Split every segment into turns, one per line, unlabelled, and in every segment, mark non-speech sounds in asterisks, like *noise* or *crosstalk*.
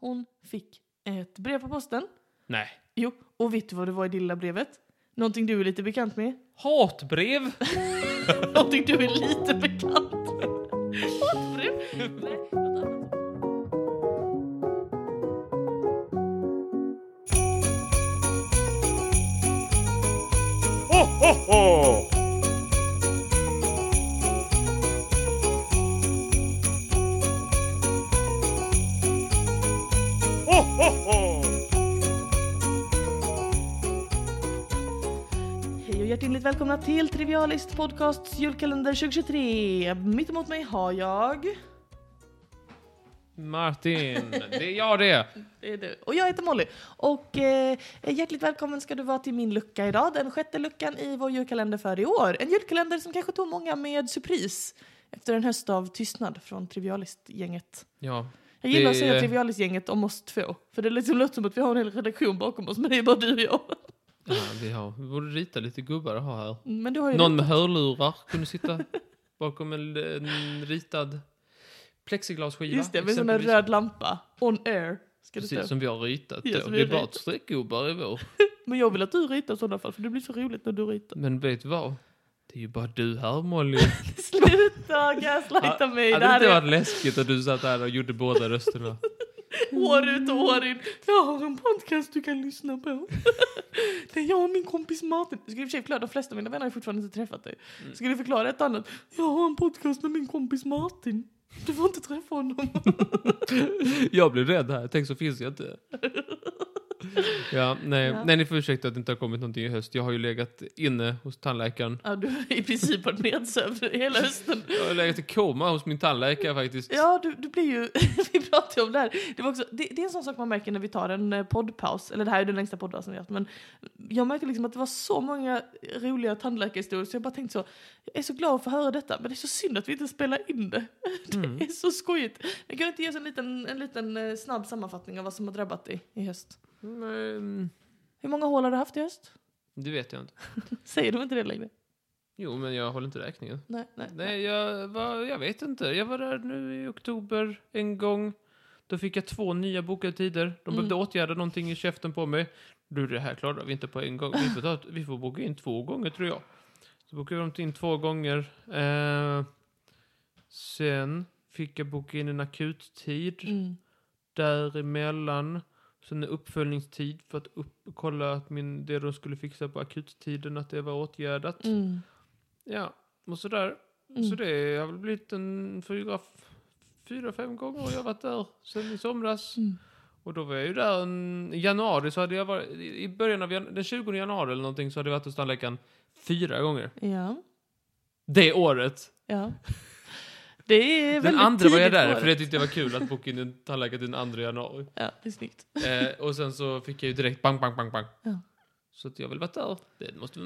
Hon fick ett brev på posten.
Nej.
Jo, och vet du vad det var i det lilla brevet? Någonting du är lite bekant med? *laughs*
Hatbrev?
Någonting du är lite bekant med? *laughs* Hatbrev? Nej, något annat.
Ho, ho, ho! Ho, ho, ho!
Hej och hjärtligt välkomna till Trivialist Podcasts julkalender 2023. Mitt emot mig har jag...
Martin, det är jag det.
Det är du. Och jag heter Molly. Och eh, hjärtligt välkommen ska du vara till min lucka idag. Den sjätte luckan i vår julkalender för i år. En julkalender som kanske tog många med surpris. Efter en höst av tystnad från Trivialist-gänget.
Ja,
Jag gillar
Det
att säga
är-
Trivialist-gänget om oss två. För det liksom låter som att vi har en hel redaktion bakom oss, men det är bara du och jag.
ja vi, har, vi borde rita lite gubbar att ha här.
Men du har ju
Någon med hörlurar kunde sitta bakom en, en ritad plexiglasskiva.
Just det, med en sån där
exempelvis.
röd lampa. On air. Ska det
Precis,
stå.
som vi har ritat.
Ja,
då.
som vi
det är
har
bara
ritat.
ett streckgubbar i vår.
Men jag vill att du ritar i sådana fall, för det blir så roligt när du
*laughs*
ritar.
Men vet du vad? Det är ju bara du här, Molly.
Sluta gaslighta mig!
Hade
*laughs* Det
det
här
inte
är
varit läskigt att du satt här och gjorde båda rösterna?
år ut och år in. Jag har en podcast du kan lyssna på. Det är jag och min kompis Martin. Jag skulle i och för sig förklara, de flesta av mina vänner har ju fortfarande inte träffat dig.
Mm.
Ska du förklara ett annat? Jag har en podcast med min kompis Martin. Du får inte träffa honom.
Jag blev rädd här. Tänk så finns jag inte. Ja, nej.
Ja.
nej, ni får ursäkta att det inte har kommit någonting i höst. Jag har ju legat inne hos tandläkaren.
Ja, du har i princip varit nedsövd hela hösten.
Jag har legat i koma hos min tandläkare faktiskt.
Ja, du, du blir ju... *laughs* vi pratade om det här. Det, var också, det, det är en sån sak man märker när vi tar en eh, poddpaus. Eller det här är den längsta poddpausen vi haft. Men jag märkte liksom att det var så många roliga tandläkarhistorier så jag bara tänkte så. Jag är så glad för att få höra detta, men det är så synd att vi inte spelar in det.
Mm.
Det är så skojigt. Men kan du inte ge oss en liten, en liten eh, snabb sammanfattning av vad som har drabbat dig i höst?
Men,
Hur många hål har du haft i höst? *laughs*
mm, det vet jag inte.
Säger de inte det längre?
Jo, men jag håller inte räkningen.
Nej, nej.
Nej, jag, var, jag vet inte. Jag var där nu i oktober en gång. Då fick jag två nya bokade tider. De
Mm.
behövde åtgärda någonting i käften på mig. Du, det här klarar vi inte på en gång. Vi får, ta, vi får boka in två gånger, tror jag. Så bokade de in två gånger. Eh, sen fick jag boka in en akuttid
Mm.
däremellan. Sen en uppföljningstid för att upp, kolla att min, det de skulle fixa på akuttiden, att det var åtgärdat.
Mm.
Ja, och sådär.
Mm.
Så det har väl blivit en fyra, f- fyra fem gånger jag har varit där sen i somras.
Mm.
Och då var jag ju där en, i januari så hade jag varit, i i början av jan, den 20 januari eller någonting så hade jag varit hos tandläkaren fyra gånger.
Ja,
Det året.
ja. Det är väldigt
Den andra var jag
tidigt på
där
året.
för jag tyckte det var kul att boka in en tandläkare till den
*laughs*
andra januari.
Ja, det är snyggt.
Eh, och sen så fick jag ju direkt bang, bang, bang, bang.
Ja.
Så att jag har väl varit där. Det måste,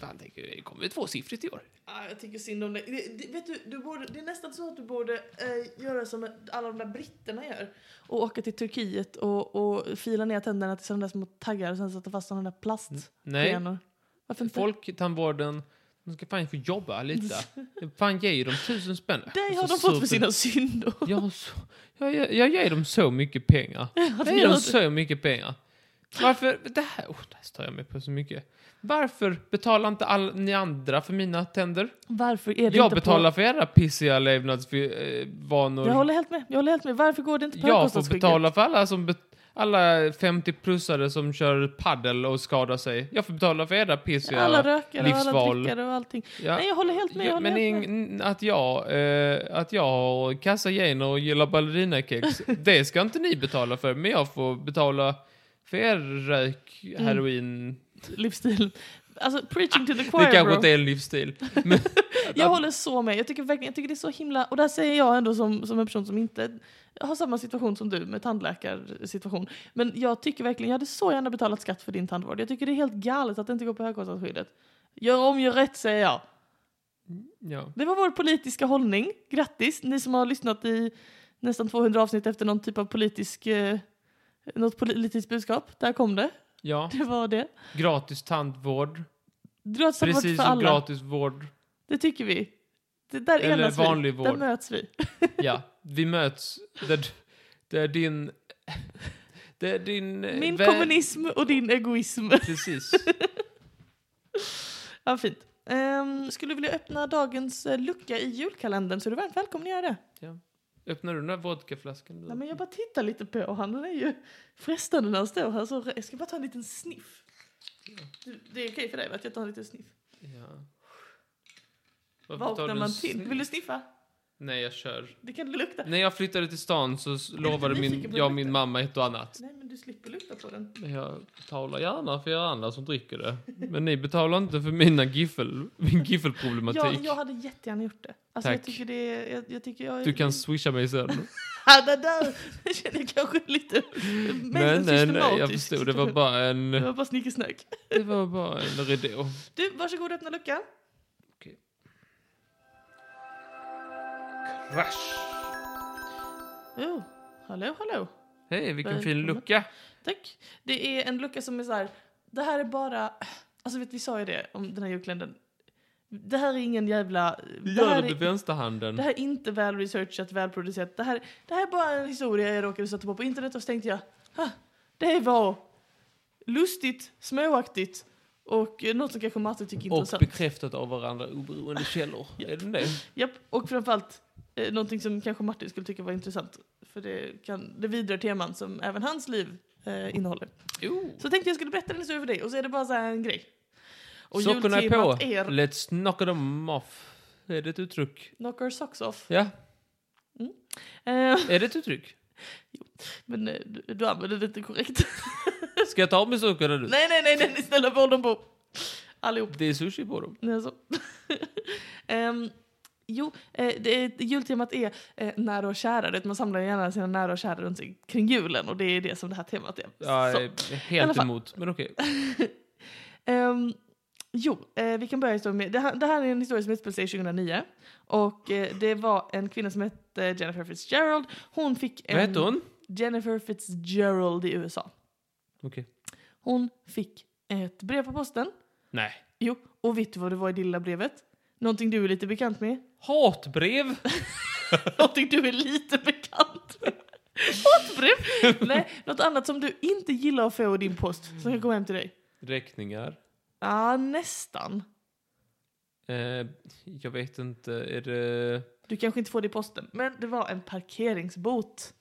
fan, det kommer ju tvåsiffrigt i år.
Ah, jag tycker synd om dig. Det, det, vet du, du borde, det är nästan så att du borde eh, göra som alla de där britterna gör. Och åka till Turkiet och, och fila ner tänderna till sådana där små taggar och sen sätta fast sådana där plastfenor.
Nej,
Varför inte?
Folktandvården, de ska fan få
*laughs*
jobba lite. Fan, ge dem tusen spänn.
Dig
Jag är
har
så
de fått för
sur
sina *laughs* synder.
*laughs* Jag, har så, jag, jag, jag ger dem så mycket pengar. Jag ger dem
alltså,
så mycket pengar. Varför, det här, oh, det här stör jag mig på så mycket. Varför betalar inte all, ni andra för mina tänder?
Varför är det
Jag
inte
betalar
på...
för era pissiga levnadsvanor.
Jag håller helt med. Jag håller helt med. Varför går det inte på
Jag får
högkostnadsskyddet?
betala för alla som bet- alla 50-plussare som kör paddel och skadar sig. Jag får betala för era pissiga...
Alla rökare och alla
livsval.
drickare och allting.
Ja.
Nej, jag håller helt med. Jag
Ja,
håller
men
helt med.
ing- att jag, eh, att jag har kassa gener och
*laughs*
gillar ballerinakex, det ska inte ni betala för, men jag får betala för er rök,
Mm.
heroin.
Livsstil. Alltså, preaching to the choir,
Ah, det kanske
bro.
inte är
*laughs*
en livsstil. Men,
Jag håller så med. Jag tycker verkligen jag tycker det är så himla... Och där säger jag ändå som, som en person som inte har samma situation som du med tandläkarsituation. Men jag tycker verkligen, jag hade så gärna betalat skatt för din tandvård. Jag tycker det är helt galet att det inte går på högkostnadsskyddet. Gör om, gör rätt säger jag.
ja.
Det var vår politiska hållning. Grattis ni som har lyssnat i nästan 200 avsnitt efter någon typ av politisk... Eh, något politiskt budskap. Där kom det.
ja,
Det var det.
gratis tandvård.
Gratis har varit
Precis
för
som
alla.
gratis vård.
Det tycker vi. Det där
Eller
enas
vanlig
vi. Där
vård.
möts vi.
Ja, vi möts där, du- där din *laughs* Det är din...
*laughs*
eh,
Min
vä-
kommunism och din egoism. *laughs*
Precis.
Ja, fint. Ehm, skulle du vilja öppna dagens eh, lucka i julkalendern så är du varmt välkommen att göra det.
Öppnar du den där vodkaflaskan?
Nej, men jag bara tittar lite på honom. Den är ju frestande när han står här. Så jag ska bara ta en liten sniff. Du, det är okej för dig va, att jag tar en liten sniff?
Ja. Varför tar du
Vaknar
en
man
sniff?
till? Vill du sniffa?
Nej, jag kör.
Det kan du lukta.
När jag flyttade till stan så s-
du
lovade
nyfiken
min,
på
jag och
lukten?
min mamma ett och annat.
Nej, men du slipper lukta på den.
Men jag betalar gärna för er andra som dricker det. Men ni betalar inte för mina giffel, min
Jag,
giffelproblematik.
jag hade jättegärna gjort det. Alltså, Jag
Tack.
tycker det är, jag, jag tycker jag är...
Du kan swisha mig sen.
*laughs* Ja, det där känner jag kanske lite...
Nej,
men
nej, nej, jag
systematisk.
förstod. Det var bara en,
Det var bara snickesnack.
det var bara en ridå.
Du, varsågod och öppna luckan.
Crash!
Oh, hallå, hallå.
Hej, vilken fin
Välkommen.
lucka.
Tack. Det är en lucka som är så här... Det här är bara... Alltså vet, vi sa ju det om den här julkalendern. Det här är ingen jävla...
Du
det,
gör
här
det med
är, det
vänsterhanden.
här är inte välresearchat, välproducerat. Det här, det här är bara en historia jag råkade sätta på på internet och så tänkte jag... "Ha, Det var lustigt, småaktigt och eh, något som kanske Martin tycker är
Och
intressant.
bekräftat av varandra oberoende källor. Är det det?
Japp, och framförallt eh, någonting som kanske Martin skulle tycka var intressant. För det, kan, det vidare teman som även hans liv eh, innehåller.
Jo.
Så tänkte jag skulle berätta den historien för dig och så är det bara så här en grej. Och
Sockorna är på.
jultemat är
Let's knock them off. Är det ett uttryck?
knock our socks off.
Ja,
Eh,
är det ett uttryck?
men eh, du, du använder det inte korrekt.
Ska jag ta av mig sockorna nu?
nej, nej, nej, nej, snälla behåll dem på. Allihop.
Det är sushi på dem.
Nej, så. *laughs* Ehm, jo, eh, det, är- jultemat är eh, nära och kära. Du vet, Man samlar gärna sina nära och kära runt sig kring julen och det är det som det här temat är. Så.
Jag är
I alla
helt
fall.
emot, men okej.
Ehm, jo, eh, vi kan börja historien med... Det här, det här är en historia som utspelar sig 2009. Och eh, det var en kvinna som hette Jennifer Fitzgerald. Hon fick en...
Vad heter hon?
Jennifer Fitzgerald i USA.
Okej.
Hon fick ett brev på posten.
Nej.
Jo, och vet du vad det var i det lilla brevet? Någonting du är lite bekant med? *laughs*
Hatbrev?
Någonting du är lite bekant med? *laughs* Hatbrev? Nej, något annat som du inte gillar att få i din post som kan komma hem till dig?
Räkningar?
Ja, ah, nästan.
Eh, jag vet inte, är det...
Du kanske inte får det i posten, men det var en parkeringsbot.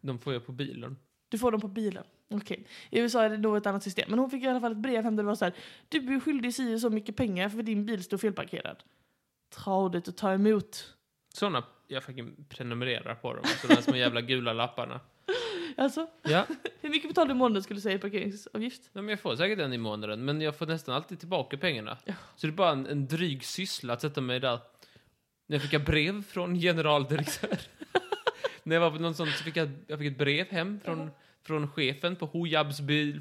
De får jag på bilen.
Du får dem på bilen. Okej. I USA är det nog ett annat system. Men hon fick i alla fall ett brev hem där det var så här. Du är skyldig si och så mycket pengar för din bil står felparkerad. Tradigt att ta emot.
Såna jag fucking prenumererar på dem. Alltså de här små jävla gula lapparna.
Alltså,
Ja,
hur mycket betalar du i månaden skulle du säga i parkeringsavgift?
ja, men jag får säkert en i månaden, men jag får nästan alltid tillbaka pengarna. Så det är bara en, en dryg syssla att sätta mig där. När jag fick jag brev från
*laughs*
generaldirektör. När jag var på någon sån så fick jag, jag fick ett brev hem från, från chefen på Hojabs bil,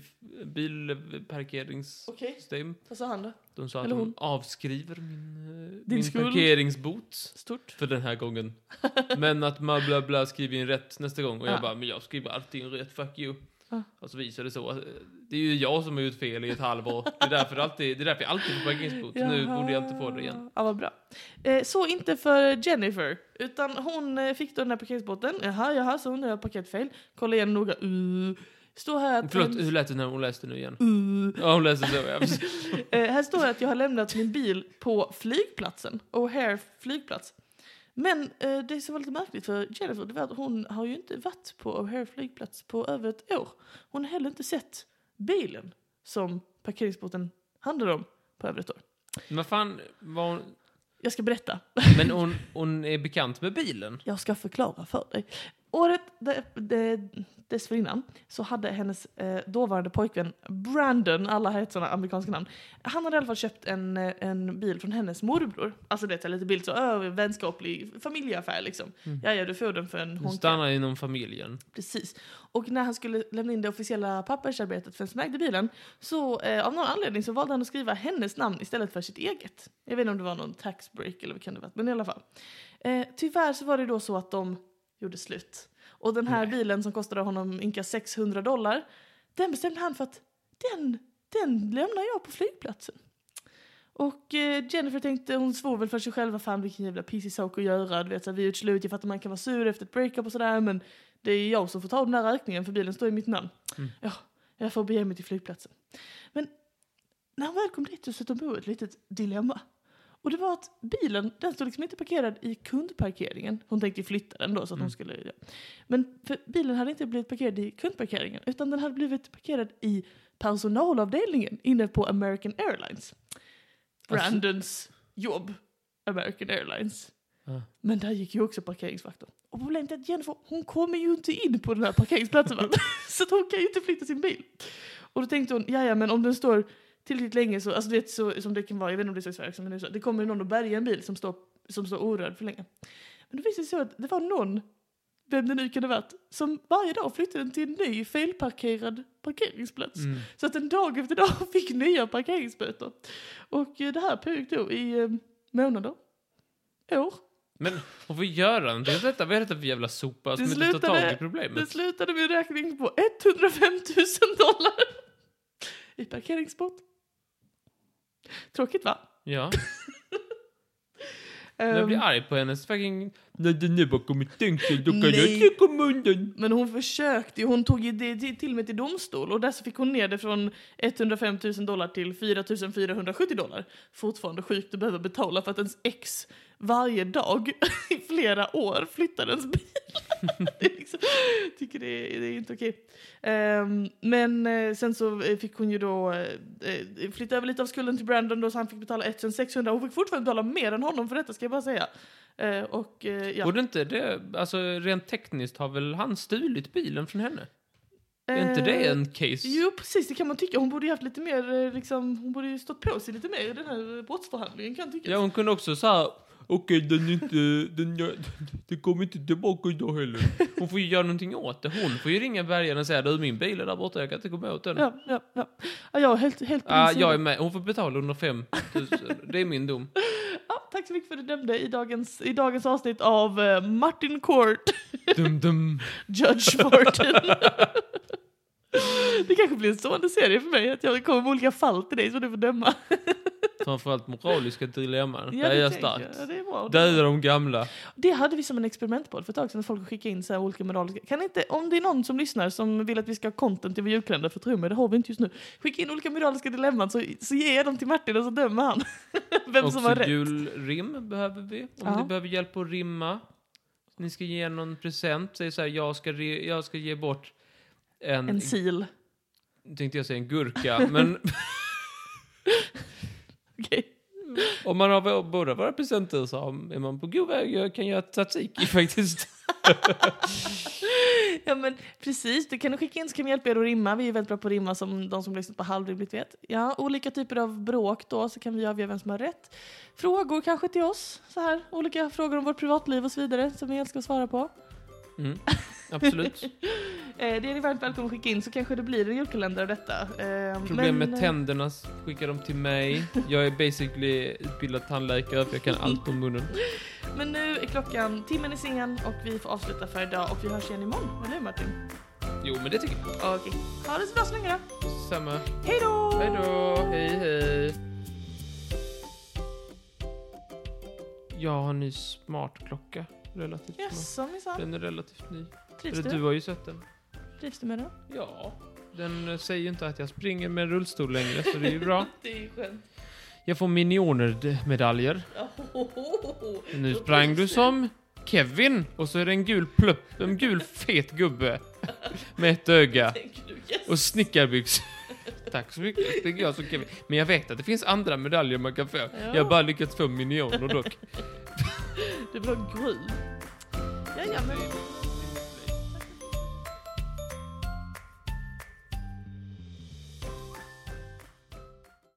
bilparkerings...
Okej.
system.
Vad sa han då?
De sa att
Eller
de
hon.
avskriver min, eh,
Din
min
skuld.
parkeringsbot
Stort.
för den här gången. Men att man bla bla skriver in rätt nästa gång. Och jag
Ja.
bara, men jag skriver alltid in rätt, fuck you.
Ja.
Och så visar det så. att, eh, Det är ju jag som har gjort fel i ett halvår. Det är därför, alltid, det är därför jag alltid får parkeringsbot. Nu borde jag inte få det igen.
Ja, vad bra. Eh, så inte för Jennifer. Utan hon eh, fick då den här parkeringsboten. Jaha, jaha, så hon har parkeringsfel. Kolla igen noga. Uh. Står här att...
Förlåt, hur lät det när hon läste nu igen?
Uh.
Ja, hon läste så. Ja. precis.
Eh, här står det att jag har lämnat min bil på flygplatsen, O'Hare flygplats. Men eh, det som var lite märkligt för Jennifer det var att hon har ju inte varit på O'Hare flygplats på över ett år. Hon har heller inte sett bilen som parkeringsboten handlade om på över ett år.
Men fan, var hon...
Jag ska berätta.
Men hon, hon är bekant med bilen.
Jag ska förklara för dig. Året de- de- dessförinnan så hade hennes eh, dåvarande pojkvän Brandon, alla heter sådana amerikanska namn, han hade i alla fall köpt en, eh, en bil från hennes morbror. Alltså det är lite bild så, ö, vänskaplig familjeaffär liksom.
Mm.
Ja, ja, du får den för en
Hon
honka.
stannar inom familjen.
Precis. Och när han skulle lämna in det officiella pappersarbetet för den som ägde bilen så eh, av någon anledning så valde han att skriva hennes namn istället för sitt eget. Jag vet inte om det var någon tax break eller vad kan det vara, men i alla fall. Eh, tyvärr så var det då så att de gjorde slut. Och den här bilen som kostade honom ynka 600 dollar, den bestämde han för att den, den lämnar jag på flygplatsen. Och eh, Jennifer tänkte, hon svor väl för sig själv, vad fan vilken jävla pissig sak att göra, du vet så här, vi är ju ett slut, jag fattar man kan vara sur efter ett breakup och sådär men Det är jag som får ta den där räkningen för bilen står i mitt namn.
Mm.
Ja, jag får bege mig till flygplatsen. Men när han väl kom dit så stötte han på ett litet dilemma. Och det var att bilen, den stod liksom inte parkerad i kundparkeringen. Hon tänkte ju flytta den då så att
Mm.
hon skulle... Ja. Men för bilen hade inte blivit parkerad i kundparkeringen utan den hade blivit parkerad i personalavdelningen inne på American Airlines.
Alltså-
Brandons jobb, American Airlines.
Ja.
Men där gick ju också parkeringsvakter. Och problemet är att Jennifer, hon kommer ju inte in på den här parkeringsplatsen va? Så att hon kan ju inte flytta sin bil. Och då tänkte hon, ja men om den står tillräckligt länge så, alltså du vet så, som det kan vara, jag vet inte om det är så i Sverige också, men det, är så, det kommer ju någon och bärgar en bil som står, som står orörd för länge. Men då visade det sig så att det var någon, vem det nu kan ha varit, som varje dag flyttade den till en ny felparkerad parkeringsplats.
Mm.
Så att den dag efter dag *laughs* fick nya parkeringsböter. Och eh, det här pågick då i eh, månader, år.
Men varför gör han det? Detta, vad är detta för jävla sopa som
Det
inte tar
slutade-
tag i
Det
problemet?
slutade med en räkning på 105 000 *laughs* dollar i parkeringsbot. Tråkigt va?
Ja.
Ehm,
Jag blir arg på hennes fucking... När den är bakom mitt tängsel då kan jag
Nej.
inte komma undan.
men hon försökte ju, hon tog ju det till till och med till domstol och där så fick hon ner det från 105 000 dollar till 4 470 dollar. Fortfarande sjukt att behöva betala för att ens ex varje dag *laughs* i flera år flyttar ens bil. *laughs* det är liksom, jag tycker det är, det är inte okej. Ehm, men eh, sen så eh, fick hon ju då uh, flytta över lite av skulden till Brandon då så han fick betala 1600. Hon fick fortfarande betala mer än honom för detta ska jag bara säga. Eh, och eh, ja.
Borde inte det... Alltså rent tekniskt har väl han stulit bilen från henne? Är inte det
Eh,
en case?
Jo, precis, det kan man tycka. Hon borde ju haft lite mer, eh, liksom, hon borde ju stått på sig lite mer i den här eh, brottsförhandlingen kan jag tycka.
Ja, hon kunde också säga okej, den är inte, den, jag, den kommer inte tillbaka idag heller. Hon får ju göra någonting åt det. Hon får ju ringa bärgaren och säga du, min bil är där borta, jag kan inte komma åt den. Ja,
ja, ja, ja. ja jag är helt, helt på din sida.
jag är med. Hon får betala 105 000. Det är min dom.
ja, Tack så mycket för att du nämnde i dagens, i dagens avsnitt av eh, Martin Court, *laughs*
Dum, dum.
Judge Martin. *laughs* det kanske blir en stående serie för mig, att jag kommer med olika fall till dig som du får döma.
Framförallt moraliska dilemman.
Ja,
det Mm. är
tänker jag. Ja,
starkt.
det är bra.
Döda de gamla.
Det hade vi som en experimentboll för ett tag sedan. Folk skickade in så här olika moraliska... Kan inte, om det är någon som lyssnar som vill att vi ska ha content i vår julkalender, för tro mig, det har vi inte just nu. Skicka in olika moraliska dilemman så, så ger jag dem till Martin och så dömer han. *laughs* Vem som har
Också
rätt.
julrim behöver vi. Om
Ja.
ni behöver hjälp att rimma. Ni ska ge någon present. Säg så här, jag ska, re, jag ska ge bort en,
En sil.
tänkte jag säga en gurka, men *laughs*
Okej.
Om man har båda våra presenter så har- är man på god väg. Jag kan göra tzatziki *laughs* faktiskt.
Ja men precis, det kan ni skicka in så kan vi hjälpa er att rimma. Vi är väldigt bra på att rimma som de som lyssnat på halvrimligt vet. Ja, olika typer av bråk då så kan vi avgöra vem som har rätt. Frågor kanske till oss så här. Olika frågor om vårt privatliv och så vidare som vi älskar att svara på.
Mm. Absolut.
Eh, det är ni varmt välkomna att skicka in så kanske det blir en julkalender av detta. Eh,
Problem
men,
med
eh,
tänderna, skicka dem till mig. Jag är basically utbildad tandläkare för jag kan allt om munnen.
eh, Men nu är klockan, timmen är sen och vi får avsluta för idag och vi hörs igen imorgon, eller hur Martin?
Jo, men det tycker jag.
Okej. Ha det så bra så länge då.
Samma.
Hej då!
Hej då. Hej, hej. Jag har en ny smartklocka. Relativt ny.
Jaså minsann.
Den är relativt ny.
Trivs
Eller du
du?
har ju sett den.
Trivs du med det?
Ja. Den eh, säger ju inte att jag springer med rullstol längre, så det är ju
*laughs*
bra.
Det är ju skönt.
Jag får minioner-medaljer.
Ohohoho.
Nu sprang du som Kevin och så är det en gul plupp, en gul fet gubbe med ett öga
Tänker du yes?
och snickarbyxor. *laughs* Tack så mycket, det är jag som Kevin. Men jag vet att det finns andra medaljer man kan få. Jag har bara lyckats få minioner dock.
Du vill ha gry? Ja, ja men...